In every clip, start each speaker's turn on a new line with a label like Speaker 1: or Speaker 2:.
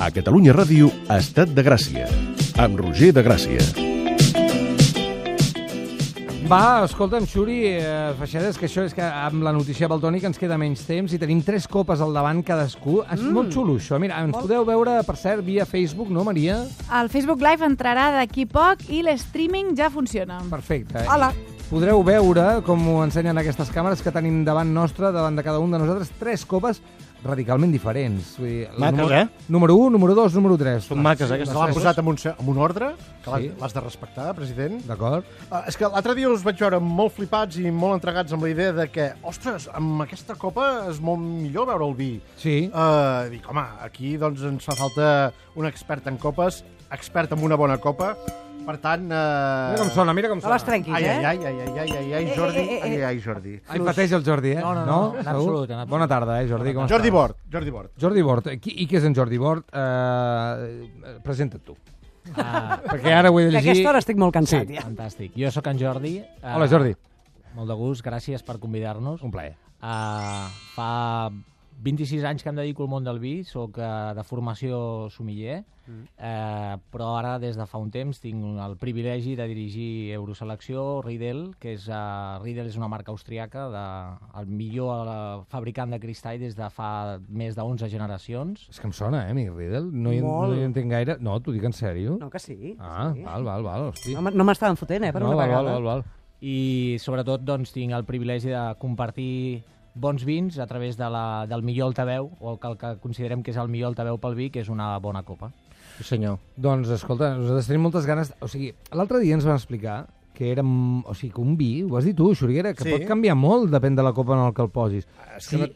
Speaker 1: a Catalunya Ràdio Estat de Gràcia, amb Roger de Gràcia.
Speaker 2: Va, escolta'm, Xuri, eh, Feixedes, que això és que amb la notícia baltònica ens queda menys temps i tenim tres copes al davant cadascú. És
Speaker 3: Mm.
Speaker 2: molt xulo, això. Mira, ens podeu veure, per cert, via Facebook, no, Maria?
Speaker 4: El Facebook Live entrarà d'aquí poc i l'streaming ja funciona.
Speaker 2: Perfecte. eh?
Speaker 5: Hola.
Speaker 2: Podreu veure, com ho ensenyen aquestes càmeres que tenim davant nostra, davant de cada un de nosaltres, tres copes radicalment diferents. Vull dir, el
Speaker 3: Maques,
Speaker 2: número,
Speaker 3: eh?
Speaker 2: Número 1, número 2, número 3.
Speaker 3: Són maques,
Speaker 2: Les
Speaker 3: eh, aquestes.
Speaker 5: Se l'han
Speaker 2: tres.
Speaker 5: posat amb un, se- amb un ordre, que l'has
Speaker 2: Sí.
Speaker 5: l'has de respectar, president.
Speaker 2: D'acord.
Speaker 5: Ah, és que l'altre dia us vaig veure molt flipats i molt entregats amb la idea de que, ostres, amb aquesta copa és molt millor veure el vi.
Speaker 2: Sí.
Speaker 5: Eh, dic, home, aquí doncs ens fa falta un expert en copes, expert en una bona copa, per tant... Eh...
Speaker 2: Mira com sona, mira com
Speaker 3: No
Speaker 2: sona.
Speaker 3: les trenquis,
Speaker 5: Ai,
Speaker 3: eh?
Speaker 5: ai, ai, ai, ai, ai, ai, ai,
Speaker 3: Eh,
Speaker 5: Jordi,
Speaker 3: eh, eh, eh.
Speaker 5: ai, ai, Jordi.
Speaker 2: Ai, pateix el Jordi, eh?
Speaker 3: No, no, no, en
Speaker 2: Segur?
Speaker 3: absolut, en absolut.
Speaker 2: Bona tarda, eh, Jordi? Com
Speaker 5: Jordi
Speaker 2: estàs?
Speaker 5: Bort, Jordi Bort.
Speaker 2: Jordi Bort. eh, Qui, I què és en Jordi Bort? Eh, presenta't tu. Ah, perquè ara ho he de
Speaker 3: Que
Speaker 2: llegir.
Speaker 3: aquesta hora Ah. estic molt cansat,
Speaker 2: sí.
Speaker 3: ja.
Speaker 6: Fantàstic. Jo sóc en Jordi. eh,
Speaker 2: Hola, Jordi.
Speaker 6: Molt de gust, gràcies per convidar-nos.
Speaker 2: Un plaer.
Speaker 6: Eh, fa 26 anys que em dedico al món del vi, sóc eh, de formació sommelier,
Speaker 2: Mm.
Speaker 6: eh, però ara des de fa un temps tinc un- el privilegi de dirigir Euroselecció, Riedel, que és, eh, Riedel és una marca austriaca, de, el millor eh, fabricant de cristall des de fa més de 11 generacions.
Speaker 2: És que em sona, eh, mi Riddle? No hi, no
Speaker 3: Molt.
Speaker 2: hi entenc gaire. No, t'ho dic en sèrio.
Speaker 3: No, que sí.
Speaker 2: Ah,
Speaker 3: sí.
Speaker 2: val, val, val, hosti.
Speaker 3: No, m- no m'estaven fotent, eh, per
Speaker 2: no,
Speaker 3: una
Speaker 2: val, val,
Speaker 3: vegada.
Speaker 2: val, val.
Speaker 6: i sobretot doncs, tinc el privilegi de compartir bons vins a través de la, del millor altaveu, o el que, el que considerem que és el millor altaveu pel vi, que és una bona copa. Senyor.
Speaker 2: Doncs, escolta, nosaltres tenim moltes ganes... O sigui, l'altre dia ens van explicar que era... m- O sigui, que un vi, ho has dit tu, Xuriguera, que
Speaker 5: Sí. Ah,
Speaker 2: sí. pot canviar molt, depèn de la copa en el que el posis.
Speaker 5: És que no,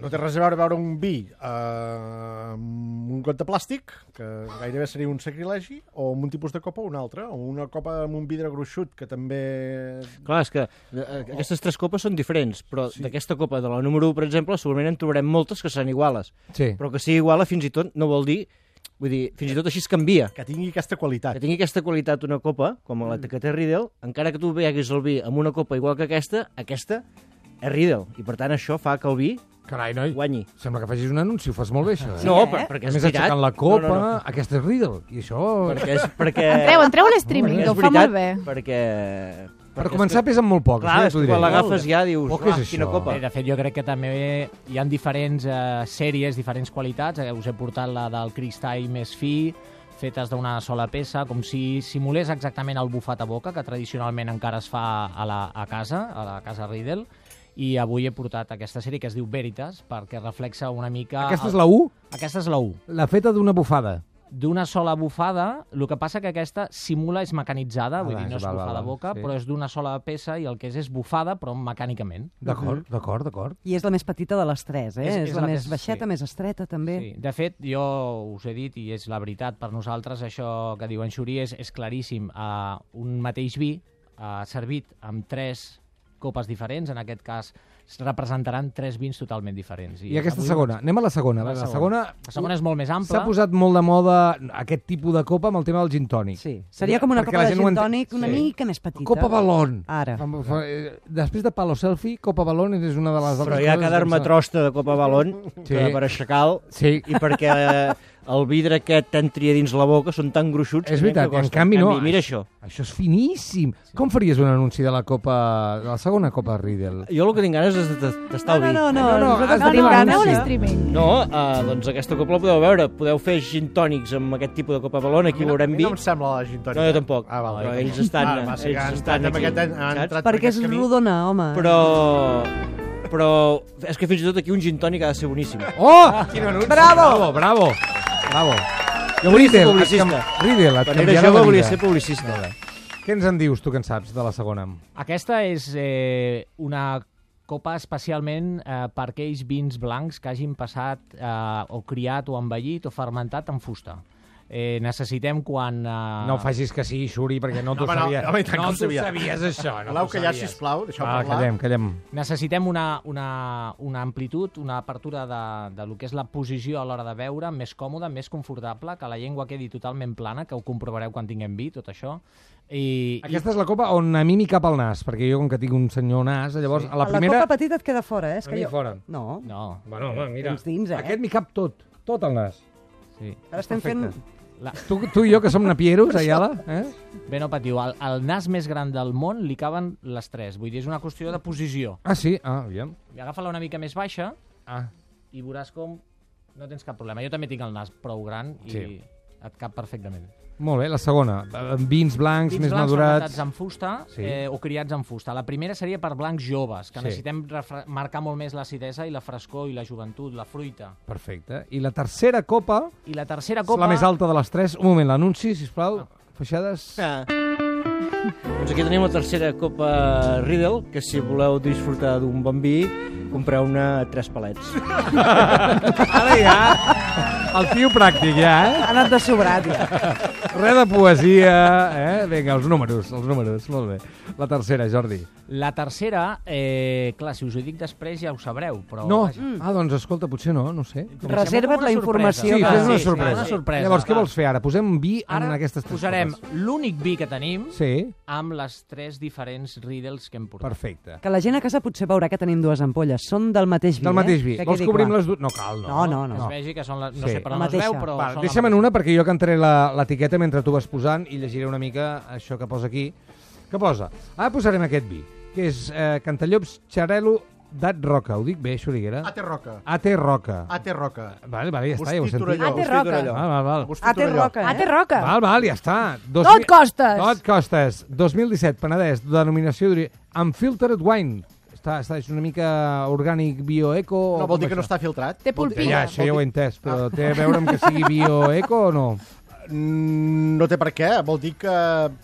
Speaker 5: no té res a veure veure un vi eh, amb un got de plàstic, que gairebé seria un sacrilegi, o amb un tipus de copa o un altre, o una copa amb un vidre gruixut, que també...
Speaker 7: Clar, és que eh, aquestes tres copes són diferents, però sí. d'aquesta copa de la número 1, per exemple, segurament en trobarem moltes que seran iguales.
Speaker 2: Sí.
Speaker 7: Però que sigui iguala fins i tot no vol dir... Vull dir, fins i tot així es canvia.
Speaker 5: que tingui aquesta qualitat.
Speaker 7: Que tingui aquesta qualitat una copa, com la que té Riedel, encara que tu veguis el vi amb una copa igual que aquesta, aquesta és Riedel. I per tant això fa que el vi
Speaker 2: Carai, noi,
Speaker 7: guanyi.
Speaker 2: sembla que facis un anunci, ho fas molt bé, això. Eh?
Speaker 7: no,
Speaker 3: eh?
Speaker 7: per, perquè
Speaker 2: A
Speaker 7: és
Speaker 2: més,
Speaker 7: veritat.
Speaker 2: aixecant la copa,
Speaker 7: No, no, no.
Speaker 2: aquest és Riddle. I això...
Speaker 7: Perquè és, perquè...
Speaker 4: Entreu, entreu a l'streaming, que
Speaker 7: perquè és
Speaker 4: ho fa molt bé.
Speaker 7: Perquè...
Speaker 2: Per
Speaker 7: perquè és
Speaker 2: començar
Speaker 7: que-
Speaker 2: pesen molt poc,
Speaker 7: Clar,
Speaker 2: això ja
Speaker 7: és
Speaker 2: t'ho
Speaker 7: que
Speaker 2: diré.
Speaker 7: quan l'agafes ja dius,
Speaker 2: Però què
Speaker 7: "Uah,
Speaker 2: és
Speaker 7: quina
Speaker 2: això?"
Speaker 7: copa.
Speaker 6: Bé, Eh, de fet, jo crec que també hi han diferents eh, sèries, diferents qualitats. Eh, us he portat la del cristall més fi, fetes d'una sola peça, com si simulés exactament el bufat a boca, que tradicionalment encara es fa a, la, a casa, a la casa Riedel, i avui he portat aquesta sèrie que es diu Veritas, perquè reflexa una mica...
Speaker 2: Aquesta és
Speaker 6: el-
Speaker 2: la 1,
Speaker 6: Aquesta és la 1
Speaker 2: la feta d'una bufada.
Speaker 6: d'una sola bufada, el que passa que aquesta simula és mecanitzada, vull
Speaker 2: Ah,
Speaker 6: dir, no
Speaker 2: és-
Speaker 6: és
Speaker 2: val,
Speaker 6: bufada
Speaker 2: val,
Speaker 6: a boca,
Speaker 2: sí.
Speaker 6: però és d'una sola peça i el que és és bufada, però mecànicament.
Speaker 7: Mhm.
Speaker 2: D'acord, d'acord, d'acord.
Speaker 3: I és la més petita de les tres, eh? És, és, la, més
Speaker 6: que-
Speaker 3: baixeta,
Speaker 6: sí.
Speaker 3: més estreta, també.
Speaker 6: Sí. De fet, jo us he dit, i és la veritat, per nosaltres això que diu en Xuri és, és claríssim. Uh, un mateix vi uh, servit amb tres copes diferents, en aquest cas es representaran tres vins totalment diferents.
Speaker 2: I aquesta
Speaker 6: avui-
Speaker 7: doncs-
Speaker 2: segona, anem a la segona. La, la segona,
Speaker 6: La segona és molt més ampla.
Speaker 2: s'ha posat molt de moda aquest tipus de copa amb el tema del gin tònic.
Speaker 3: Sí. Seria com una
Speaker 2: Perquè
Speaker 3: copa
Speaker 2: la
Speaker 3: de
Speaker 2: gent ho
Speaker 3: gin
Speaker 2: enten-
Speaker 3: tònic una
Speaker 2: Sí.
Speaker 3: mica més petita.
Speaker 2: Copa Balón.
Speaker 3: Ara.
Speaker 2: Fa- fa- eh, Després de Palo Selfie, Copa Balón és una de les
Speaker 7: Però
Speaker 2: altres
Speaker 7: hi ha
Speaker 2: coses que
Speaker 7: cada
Speaker 2: em sembla-
Speaker 7: armatrosta de Copa Balón
Speaker 2: Sí.
Speaker 7: sí. que per aixecar-lo
Speaker 2: Sí.
Speaker 7: i perquè eh, el vidre aquest t'entria dins la boca són tan gruixuts
Speaker 2: És
Speaker 7: que
Speaker 2: veritat,
Speaker 7: que
Speaker 2: en
Speaker 7: costa.
Speaker 2: canvi no.
Speaker 7: mira això.
Speaker 2: Això és finíssim. Com faries un anunci de la copa, de la segona copa Riddle?
Speaker 7: Jo el que tinc ganes és de tas- tastar
Speaker 3: No,
Speaker 7: el vi.
Speaker 3: no, no, no,
Speaker 2: No, no,
Speaker 3: nosaltres
Speaker 4: No,
Speaker 2: Tenim
Speaker 4: no,
Speaker 2: anunci.
Speaker 4: entreu a
Speaker 3: tenim ganes. eh?
Speaker 4: l'streaming.
Speaker 7: No, eh, doncs aquesta copa la podeu veure. Podeu fer gin tònics amb aquest tipus de Copa Balón, aquí veurem
Speaker 5: mi
Speaker 7: vi.
Speaker 5: no em sembla la gin tònica.
Speaker 7: No, jo tampoc.
Speaker 5: Ah, val,
Speaker 7: Però
Speaker 5: jo
Speaker 7: ells
Speaker 5: tampoc.
Speaker 7: estan-
Speaker 5: Ah, va, sí,
Speaker 7: ells
Speaker 5: han
Speaker 7: estan
Speaker 5: entrat en
Speaker 7: aquí,
Speaker 5: aquest- han
Speaker 7: saps?
Speaker 5: entrat per
Speaker 3: Perquè és
Speaker 5: aquest camí.
Speaker 3: rodona, home.
Speaker 7: Però... Però és que fins i tot aquí un gin tònic ha de ser boníssim.
Speaker 2: Oh! Quin anunci! Bravo! Bravo, bravo. bravo.
Speaker 7: Jo volia ser
Speaker 2: Riddle, et cam-
Speaker 7: publicista.
Speaker 2: Riddle, et
Speaker 7: Quan era
Speaker 2: canviarà la
Speaker 7: jove volia
Speaker 2: vida.
Speaker 7: ser publicista.
Speaker 2: Què ens en dius, tu, que en saps, de la segona?
Speaker 6: Aquesta és eh, una copa especialment eh, per aquells vins blancs que hagin passat eh, o criat o envellit o fermentat en fusta. Eh, necessitem quan... Eh,
Speaker 2: No facis que sí, Xuri, perquè no
Speaker 5: No,
Speaker 2: t'ho
Speaker 5: home, no,
Speaker 2: sabies.
Speaker 5: home, i tant que
Speaker 2: no
Speaker 5: ho sabia.
Speaker 2: sabies, això. No
Speaker 5: Palau,
Speaker 2: t'ho
Speaker 5: callar,
Speaker 2: sabies.
Speaker 5: sisplau, deixeu
Speaker 2: Va,
Speaker 5: parlar.
Speaker 2: callem, callem.
Speaker 6: Necessitem una, una, una amplitud, una apertura de, de lo que és la posició a l'hora de veure, més còmoda, més confortable, que la llengua quedi totalment plana, que ho comprovareu quan tinguem vi, tot això. I, i
Speaker 2: Aquesta és la copa on a mi m'hi cap el nas, perquè jo, com que tinc un senyor nas, llavors sí. a la
Speaker 3: A
Speaker 2: primera...
Speaker 3: La copa petita et queda fora, eh? És
Speaker 2: A
Speaker 3: que
Speaker 2: mi
Speaker 3: jo...
Speaker 2: fora.
Speaker 3: No.
Speaker 6: no,
Speaker 2: Bueno, home, mira,
Speaker 3: Tens dins, eh?
Speaker 2: aquest m'hi cap tot, tot el nas.
Speaker 6: Sí.
Speaker 3: Ara estem fent...
Speaker 6: La...
Speaker 2: Tu, tu i jo, que som napieros, Ayala, eh?
Speaker 6: Bé, no patiu, al, al nas més gran del món li caben les tres. Vull dir, és una qüestió de posició.
Speaker 2: Ah, sí? Ah, aviam.
Speaker 6: I agafa-la una mica més baixa
Speaker 2: Ah.
Speaker 6: i veuràs com no tens cap problema. Jo també tinc el nas prou gran i sí.
Speaker 2: Sí.
Speaker 6: et cap perfectament.
Speaker 2: Molt bé, la segona. Eh, Vins blancs,
Speaker 6: Vins
Speaker 2: més
Speaker 6: blancs fermentats
Speaker 2: madurats.
Speaker 6: en fusta
Speaker 2: Sí.
Speaker 6: sí. eh, o criats en fusta. La primera seria per blancs joves, que
Speaker 2: Sí.
Speaker 6: sí. necessitem refre- marcar molt més l'acidesa i la frescor i la joventut, la fruita.
Speaker 2: Perfecte. I la tercera copa,
Speaker 6: I la tercera
Speaker 2: copa...
Speaker 6: copa...
Speaker 2: la més alta de les tres. Un moment, l'anunci, sisplau. Feixades...
Speaker 7: Ah. Doncs aquí tenim la tercera copa Riddle, que si voleu disfrutar d'un bon vi, compreu-ne tres palets.
Speaker 2: Ara ja... El tio pràctic, ja, eh?
Speaker 3: Ha anat de sobrat, ja.
Speaker 2: Res de poesia, eh? Vinga, els números, els números, molt bé. La tercera, Jordi.
Speaker 6: La tercera, eh, clar, si us ho dic després ja ho sabreu, però...
Speaker 2: No,
Speaker 6: Oh, vaja,
Speaker 2: ah, doncs escolta, potser no, no ho sé.
Speaker 6: comencem amb
Speaker 3: Reserva't
Speaker 6: una
Speaker 3: la
Speaker 6: sorpresa.
Speaker 3: informació
Speaker 2: Sí,
Speaker 3: que-
Speaker 2: fes una
Speaker 3: sí,
Speaker 2: sorpresa.
Speaker 6: una sorpresa.
Speaker 2: Llavors, què
Speaker 6: Va.
Speaker 2: vols fer ara? Posem vi
Speaker 6: Ara
Speaker 2: en aquestes tres
Speaker 6: posarem
Speaker 2: copes.
Speaker 6: l'únic vi que tenim
Speaker 2: Sí,
Speaker 6: amb les tres diferents riddles que hem portat.
Speaker 2: perfecte.
Speaker 3: Que la gent a casa potser veurà que tenim dues ampolles. Són del mateix vi,
Speaker 2: Del mateix vi.
Speaker 3: Eh? Que
Speaker 2: Vols
Speaker 3: quedi
Speaker 2: que obrim
Speaker 3: clar.
Speaker 2: les dues? No cal, no.
Speaker 3: No, no,
Speaker 6: Que
Speaker 3: no.
Speaker 6: es vegi que són les... No
Speaker 2: Sí.
Speaker 6: sé per
Speaker 3: La
Speaker 6: on es veu,
Speaker 3: mateixa.
Speaker 6: però...
Speaker 2: Va,
Speaker 6: són la
Speaker 2: deixa'm en
Speaker 6: mateixa.
Speaker 2: una perquè jo cantaré la- l'etiqueta mentre tu vas posant i llegiré una mica això que posa aquí. Què posa? Ah, posarem aquest vi, que és eh, Cantallops Xarelo d'At Roca. Ho dic bé, Xuriguera?
Speaker 5: A Roca.
Speaker 2: AT Roca.
Speaker 5: A Roca.
Speaker 2: Vale, vale, ja està, ja ho he
Speaker 5: Agustí
Speaker 2: sentit.
Speaker 5: Torelló.
Speaker 4: Ate Roca.
Speaker 2: Val, val, val.
Speaker 5: Agustí
Speaker 3: Ah, té
Speaker 5: Torelló.
Speaker 3: roca, eh?
Speaker 4: A té roca.
Speaker 2: Val, val, ja està. Dos
Speaker 4: Tot
Speaker 2: mil-
Speaker 4: costes.
Speaker 2: Tot costes. 2017, Penedès, denominació d'ori... Unfiltered wine. Està, està, és una mica orgànic bioeco...
Speaker 5: No, vol dir que no està filtrat?
Speaker 4: Té
Speaker 5: Vol dir- Ah.
Speaker 4: pulpilla.
Speaker 2: Ja, això ja ho he entès, però té a veure amb que sigui bioeco o no?
Speaker 5: Mm, No té per què, vol dir que...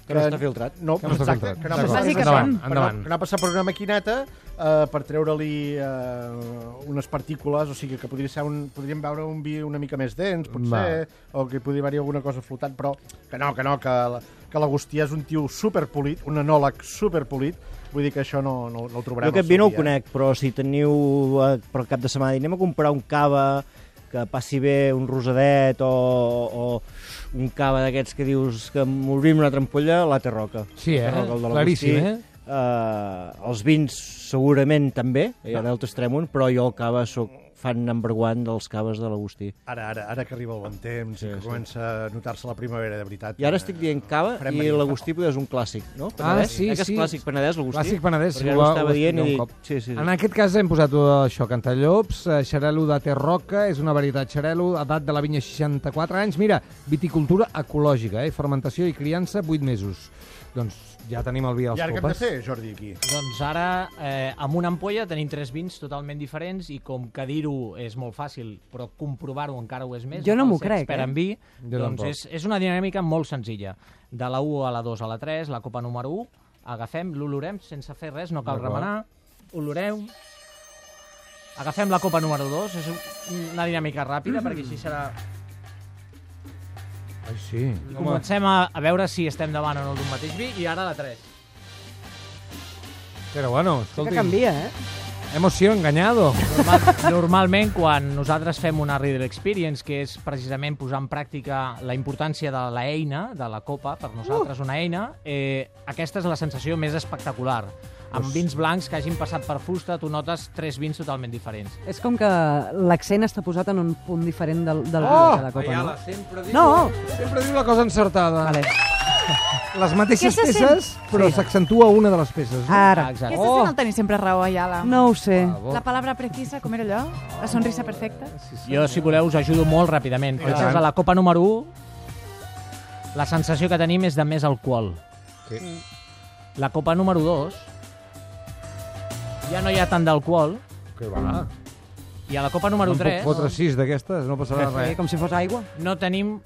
Speaker 5: Que,
Speaker 7: no està filtrat.
Speaker 5: No,
Speaker 2: Que no està
Speaker 5: exacte,
Speaker 2: filtrat.
Speaker 5: Que no
Speaker 2: D'acord.
Speaker 5: ha
Speaker 2: Endavant,
Speaker 5: passat, que no-
Speaker 2: endavant.
Speaker 5: Que no ha passat per una maquineta eh, per treure-li eh, unes partícules, o sigui que podria ser un, podríem veure un vi una mica més dens, potser, o que hi podria haver alguna cosa flotant, però que no, que no, que, la- que l'Agustí és un tio superpolit, un enòleg superpolit, vull dir que això no, no, no ho
Speaker 7: Jo
Speaker 5: trobarem. al
Speaker 7: aquest
Speaker 5: seu
Speaker 7: vi no ho
Speaker 5: dia. eh?
Speaker 7: conec, però si teniu eh, per cap de setmana i anem a comprar un cava que passi bé un rosadet o, o un cava d'aquests que dius que m'obrim una trampolla, la té roca.
Speaker 2: Sí, eh?
Speaker 7: La Roca, el de l'Agustí.
Speaker 2: Claríssim, eh?
Speaker 7: Eh, els vins segurament també, eh, i ara el tastarem un, però jo el cava sóc fan number one dels caves de l'Agustí.
Speaker 5: Ara, ara, ara que arriba el bon temps sí, i que
Speaker 7: sí.
Speaker 5: comença a notar-se la primavera, de veritat. eh.
Speaker 7: I ara estic dient cava
Speaker 5: Farem
Speaker 7: i
Speaker 5: venir.
Speaker 7: l'Agustí potser és un clàssic, no?
Speaker 2: Ah, sí,
Speaker 7: Aquest
Speaker 2: sí.
Speaker 7: clàssic Penedès, l'Agustí.
Speaker 2: Clàssic Penedès,
Speaker 7: Perquè
Speaker 2: ho
Speaker 7: ara ho
Speaker 2: va- ho
Speaker 7: estava
Speaker 2: vas dir
Speaker 7: dient i
Speaker 2: un
Speaker 7: dic...
Speaker 2: cop.
Speaker 7: Sí, sí, sí.
Speaker 2: En aquest cas hem posat eh, això, cantallops, eh, xarelo de Terroca, és una varietat xarelo, edat de la vinya 64 anys. Mira, viticultura ecològica, eh? fermentació i criança 8 mesos. Doncs ja tenim el vi als
Speaker 5: I ara què hem de
Speaker 2: copes.
Speaker 5: fer, Jordi, aquí?
Speaker 6: Doncs ara, eh, amb una ampolla tenim tres vins totalment diferents i com que dir-ho és molt fàcil, però comprovar-ho encara ho és més...
Speaker 3: Jo no
Speaker 6: el
Speaker 3: m'ho
Speaker 6: ser
Speaker 3: crec,
Speaker 6: expert
Speaker 3: eh?
Speaker 6: en vi,
Speaker 2: Jo
Speaker 6: doncs
Speaker 2: tampoc.
Speaker 6: és, és una dinàmica molt senzilla. De la 1 a la 2 a la 3, la copa número 1, agafem, l'olorem sense fer res, no cal
Speaker 2: D'acord.
Speaker 6: remenar, oloreu... Agafem la copa número 2, és un- una dinàmica ràpida, perquè així serà...
Speaker 2: Ai, sí.
Speaker 6: I
Speaker 2: Home,
Speaker 6: comencem a, a veure si estem davant o no d'un mateix vi, i ara la 3.
Speaker 2: però bueno,
Speaker 3: Que
Speaker 2: escolti,
Speaker 3: canvia, eh?
Speaker 2: hemos sido engañado.
Speaker 6: Normal, normalment, quan nosaltres fem una Reader Experience, que és precisament posar en pràctica la importància de l'eina, de la copa, per nosaltres una eina, eh, aquesta és la sensació més espectacular. Amb vins blancs que hagin passat per fusta, tu notes tres vins totalment diferents.
Speaker 3: És com que l'accent està posat en un punt diferent del, del
Speaker 2: Oh!
Speaker 3: de la copa.
Speaker 2: Ayala,
Speaker 3: No?
Speaker 2: sempre diu,
Speaker 3: No.
Speaker 2: sempre diu la cosa encertada.
Speaker 3: Vale.
Speaker 2: Les mateixes
Speaker 4: Aquesta sent-
Speaker 2: peces, però s'accentua una de les peces. No?
Speaker 3: Ara.
Speaker 6: Exacte.
Speaker 4: Aquesta
Speaker 2: Oh.
Speaker 4: oh. sent el tenir sempre raó, Ayala.
Speaker 3: No ho sé.
Speaker 2: Bravo.
Speaker 4: La palabra precisa, com era allò? La sonrisa perfecta.
Speaker 2: Sí, sí.
Speaker 6: Jo, si voleu, us ajudo molt ràpidament.
Speaker 2: tant.
Speaker 6: Potser a la copa número 1, la sensació que tenim és de més alcohol.
Speaker 2: Sí.
Speaker 6: La copa número 2, ja no hi ha tant d'alcohol, Mm.
Speaker 2: Que va.
Speaker 6: i a la copa número
Speaker 2: No em puc
Speaker 6: 3...
Speaker 2: fotre sis d'aquestes, no passarà
Speaker 3: Sí,
Speaker 2: res.
Speaker 3: com si fos aigua.
Speaker 6: no tenim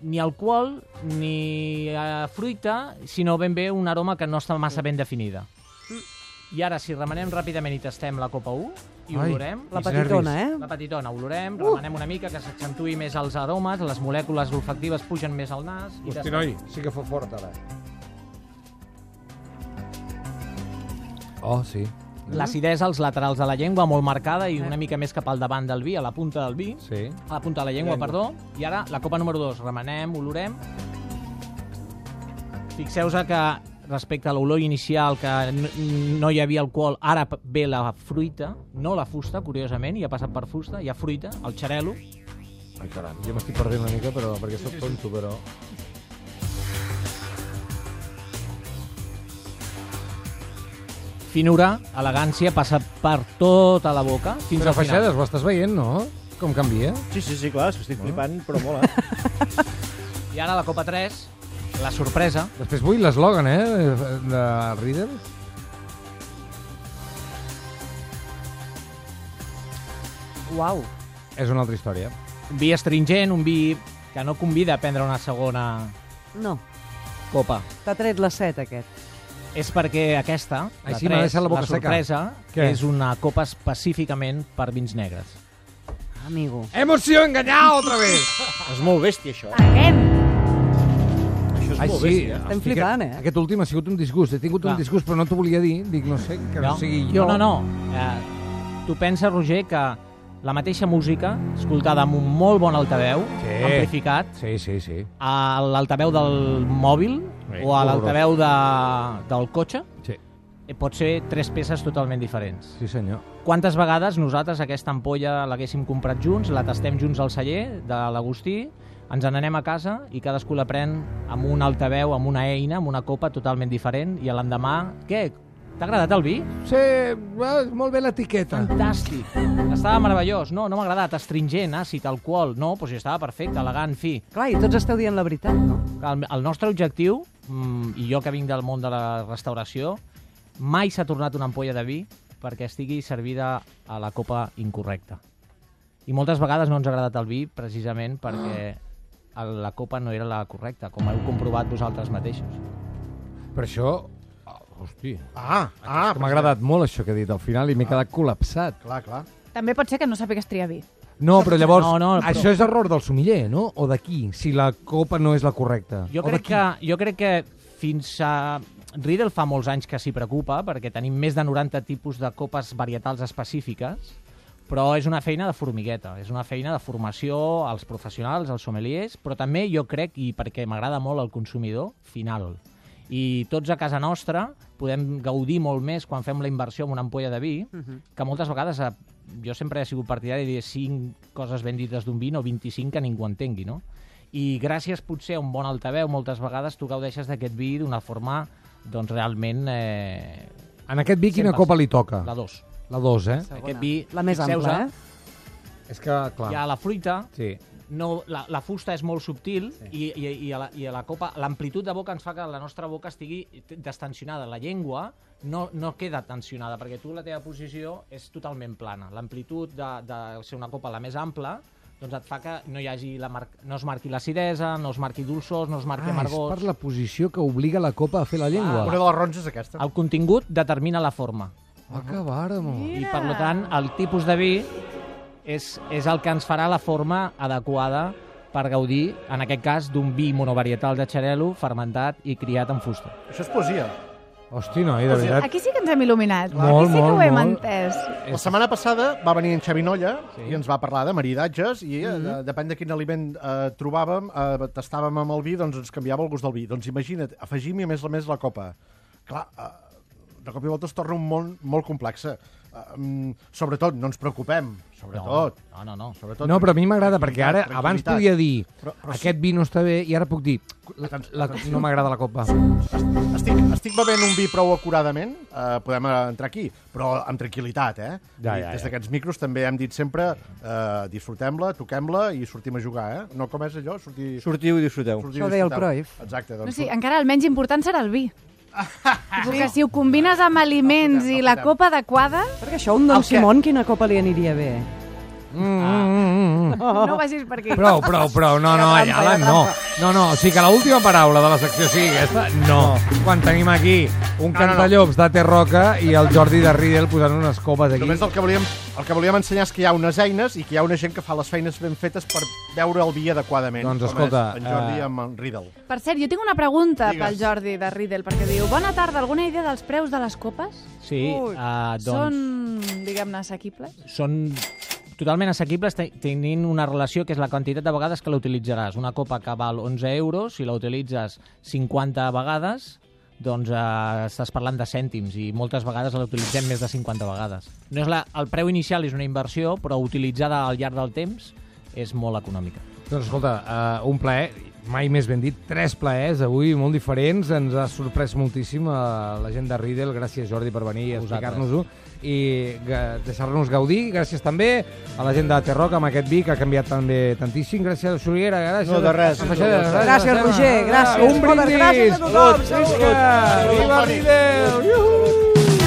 Speaker 6: ni alcohol ni eh, fruita, sinó ben bé un aroma que no està massa ben definida. I ara, si remenem ràpidament i tastem la copa 1 i
Speaker 2: Mm. Ai.
Speaker 6: olorem...
Speaker 3: La
Speaker 2: Quins
Speaker 3: petitona, eh?
Speaker 6: La petitona, olorem, remenem una mica, que s'accentuï més els aromes, les molècules olfactives pugen més al nas... I
Speaker 2: Hosti,
Speaker 6: tastem.
Speaker 2: noi, sí que fa fort, ara. Oh, sí.
Speaker 6: L'acidesa als laterals de la llengua, molt marcada, i una mica més cap al davant del vi, a la punta del vi,
Speaker 2: Sí.
Speaker 6: a la punta de la llengua, perdó. I ara, la copa número 2, remenem, olorem. Fixeu-vos que respecte a l'olor inicial, que n- n- no hi havia alcohol, ara p- ve la fruita, no la fusta, curiosament, i ha passat per fusta, hi ha fruita, el xarelo.
Speaker 2: Ai, caram, jo m'estic perdent una mica, però, perquè sóc tonto, però...
Speaker 6: Finura, elegància, passa per tota la boca fins
Speaker 2: Però
Speaker 6: al final.
Speaker 2: Feixades, ho estàs veient, no? Com canvia?
Speaker 7: Sí, sí, sí, clar, és que estic flipant, però mola.
Speaker 6: I ara la copa 3, la sorpresa.
Speaker 2: Després vull l'eslògan, eh, de Reader.
Speaker 3: Uau.
Speaker 2: És una altra història.
Speaker 6: Un vi estringent, un vi que no convida a prendre una segona
Speaker 3: No,
Speaker 6: copa.
Speaker 3: t'ha tret la set, aquest.
Speaker 6: És perquè aquesta, la,
Speaker 2: Així
Speaker 6: 3,
Speaker 2: m'ha deixat la boca seca.
Speaker 6: sorpresa,
Speaker 2: Què?
Speaker 6: és una copa específicament per vins negres.
Speaker 3: Amigo.
Speaker 2: Emoció enganyada otra vez!
Speaker 7: és molt bèstia, això. eh?
Speaker 4: Aquest!
Speaker 7: Això és
Speaker 2: Ai,
Speaker 7: molt
Speaker 2: sí.
Speaker 7: bèstia.
Speaker 2: Hosti,
Speaker 3: Estem flipant, eh?
Speaker 2: Aquest, aquest últim ha sigut un disgust. He tingut
Speaker 6: Clar.
Speaker 2: un disgust, però no t'ho volia dir. Dic, no sé, que no, sigui jo.
Speaker 6: No, no, no. Eh, tu pensa, Roger, que la mateixa música, escoltada amb un molt bon altaveu,
Speaker 2: Sí.
Speaker 6: amplificat,
Speaker 2: Sí, sí, sí.
Speaker 6: a l'altaveu del mòbil
Speaker 2: Sí,
Speaker 6: o a l'altaveu de, del cotxe,
Speaker 2: Sí,
Speaker 6: eh, pot ser tres peces totalment diferents.
Speaker 2: sí senyor.
Speaker 6: Quantes vegades nosaltres aquesta ampolla l'haguéssim comprat junts, la tastem junts al celler de l'Agustí, ens n'anem a casa i cadascú la pren amb un altaveu, amb una eina, amb una copa totalment diferent i a l'endemà... Què? T'ha agradat el vi?
Speaker 2: Sí, va, molt bé l'etiqueta.
Speaker 6: Fantàstic! Estava meravellós. No, no m'ha agradat. Astringent, àcid, alcohol... No, doncs estava perfecte, elegant, fi.
Speaker 3: Clar, i tots esteu dient la veritat, no?
Speaker 6: El, el nostre objectiu, mm, i jo que vinc del món de la restauració, mai s'ha tornat una ampolla de vi perquè estigui servida a la copa incorrecta. I moltes vegades no ens ha agradat el vi precisament perquè el- la copa no era la correcta, com heu comprovat vosaltres mateixos.
Speaker 2: Per això... Oh, hosti,
Speaker 5: Ah, ah,
Speaker 2: ah, m'ha agradat molt això que he dit al final i m'he quedat col·lapsat.
Speaker 5: Clar, clar.
Speaker 4: També pot ser que no sàpigues triar vi.
Speaker 2: No, però llavors,
Speaker 6: No, no, però-
Speaker 2: això és error del sommelier, no? O d'aquí, si la copa no és la correcta.
Speaker 6: Jo
Speaker 2: o
Speaker 6: crec,
Speaker 2: d'aquí.
Speaker 6: que, jo crec que fins a... Riedel fa molts anys que s'hi preocupa perquè tenim més de 90 tipus de copes varietals específiques, però és una feina de formigueta, és una feina de formació als professionals, als sommeliers, però també jo crec, i perquè m'agrada molt el consumidor, final. I tots a casa nostra podem gaudir molt més quan fem la inversió en una ampolla de vi,
Speaker 3: Mhm.
Speaker 6: que moltes vegades eh, jo sempre he sigut partidari de dir 5 coses ben dites d'un vin o 25 que ningú entengui, no? I gràcies potser a un bon altaveu, moltes vegades tu gaudeixes d'aquest vi d'una forma doncs realment eh,
Speaker 2: En aquest vi quina
Speaker 6: 100%.
Speaker 2: copa li toca?
Speaker 6: la dos.
Speaker 2: La 2, eh?
Speaker 6: Aquest vi,
Speaker 3: La més
Speaker 6: fixeu-vos,
Speaker 3: ampla, eh?
Speaker 2: És que,
Speaker 6: Hi
Speaker 2: clar...
Speaker 6: ha la fruita,
Speaker 2: Sí.
Speaker 6: no, la, la fusta és molt subtil sí. i, i, i, a la, i a la copa l'amplitud de boca ens fa que la nostra boca estigui t- destensionada. La llengua no, no queda tensionada perquè tu la teva posició és totalment plana. L'amplitud de, de ser una copa la més ampla doncs et fa que no hi hagi la mar... no es marqui l'acidesa, no es marqui dolçors, no es marqui
Speaker 2: Ah, és
Speaker 6: amargors.
Speaker 2: per la posició que obliga la copa a fer la llengua.
Speaker 5: Una de les ronses és aquesta.
Speaker 6: El contingut determina la forma.
Speaker 2: Ah, que bàramo.
Speaker 6: i per lo tant el tipus de vi és, és el que ens farà la forma adequada per gaudir, en aquest cas, d'un vi monovarietal de xarelo fermentat i criat en fusta.
Speaker 5: Això és poesia.
Speaker 2: Hosti, noi, de veritat.
Speaker 4: Aquí sí que ens hem il·luminat.
Speaker 2: Molt,
Speaker 4: Aquí sí que
Speaker 2: molt,
Speaker 4: ho hem
Speaker 2: molt.
Speaker 4: entès.
Speaker 5: La setmana passada va venir en Xavi Nolla sí. i ens va parlar de maridatges i mm -hmm. de, depèn de quin aliment eh, trobàvem, eh, tastàvem amb el vi, doncs ens canviava el gust del vi. Doncs imagina't, afegim-hi a més a més la copa. Clar, eh, de cop i volta es torna un món molt complex. Eh, mm, sobretot, no ens preocupem, sobretot.
Speaker 6: No, no, no. no.
Speaker 5: sobretot
Speaker 2: No, però a mi m'agrada, perquè ara
Speaker 5: Tranquil·litat,
Speaker 2: abans podia
Speaker 5: tranquil·litat.
Speaker 2: dir
Speaker 5: Però- però sí.
Speaker 2: aquest vi no està bé i ara puc dir la,
Speaker 5: Atenció,
Speaker 2: la,
Speaker 5: atenció.
Speaker 2: no m'agrada la copa.
Speaker 5: Ah. Estic, estic bevent un vi prou acuradament, eh, podem eh, entrar aquí, però amb tranquil·litat, eh?
Speaker 2: Ja,
Speaker 5: I
Speaker 2: ja,
Speaker 5: Des
Speaker 2: ja.
Speaker 5: d'aquests micros també hem dit sempre eh, disfrutem-la, toquem-la i sortim a jugar, eh? No com és allò, sortir...
Speaker 7: Sortiu i disfruteu.
Speaker 5: sortir
Speaker 3: Això
Speaker 5: i
Speaker 3: deia el
Speaker 5: disfrutar.
Speaker 3: Cruyff.
Speaker 5: Exacte,
Speaker 4: No,
Speaker 5: doncs...
Speaker 4: sí,
Speaker 5: surt-
Speaker 4: encara el menys important serà el vi. Perquè si ho combines amb aliments i la copa adequada,
Speaker 3: Perquè això, un Don
Speaker 5: El què?
Speaker 3: Simón, quina copa li aniria bé?
Speaker 2: Mm,
Speaker 4: no vagis per aquí.
Speaker 2: Prou, prou, prou. No, no, allà no. No, no, o sigui que l'última paraula de la secció sigui aquesta, no. Quan tenim aquí un cantallops de Té Roca i el Jordi de Riedel posant unes copes aquí.
Speaker 5: Només el que, volíem, el que volíem ensenyar és que hi ha unes eines i que hi ha una gent que fa les feines ben fetes per veure el vi adequadament.
Speaker 2: Doncs
Speaker 5: com
Speaker 2: escolta,
Speaker 5: és En Jordi
Speaker 2: eh,
Speaker 5: amb en Riddle.
Speaker 4: Per cert, jo tinc una pregunta
Speaker 5: Digues.
Speaker 4: pel Jordi de Riddle, perquè diu, bona tarda, alguna idea dels preus de les copes?
Speaker 6: Sí, uh, doncs...
Speaker 4: Són, diguem-ne, assequibles?
Speaker 6: són totalment assequibles te- tenint una relació que és la quantitat de vegades que la utilitzaràs. Una copa que val 11 euros, si la utilitzes 50 vegades, doncs eh, estàs parlant de cèntims i moltes vegades la utilitzem més de 50 vegades. No és la, el preu inicial és una inversió, però utilitzada al llarg del temps és molt econòmica.
Speaker 2: Doncs escolta, uh, un plaer, mai més ben dit, tres plaers avui molt diferents. Ens ha sorprès moltíssim uh, la gent de Riddle. Gràcies, Jordi, per venir i
Speaker 6: A vosaltres.
Speaker 2: explicar-nos-ho i ga- deixar-nos gaudir. Gràcies també a la gent de Terroc amb aquest vi que ha canviat també tantíssim. Gràcies, Xuliguera. Gràcies.
Speaker 7: No, de res.
Speaker 3: Gràcies, Roger, gràcies.
Speaker 2: Un
Speaker 3: Moltes
Speaker 2: brindis.
Speaker 3: gràcies a tothom.
Speaker 2: Visca! Viva Riddle! Iuhu!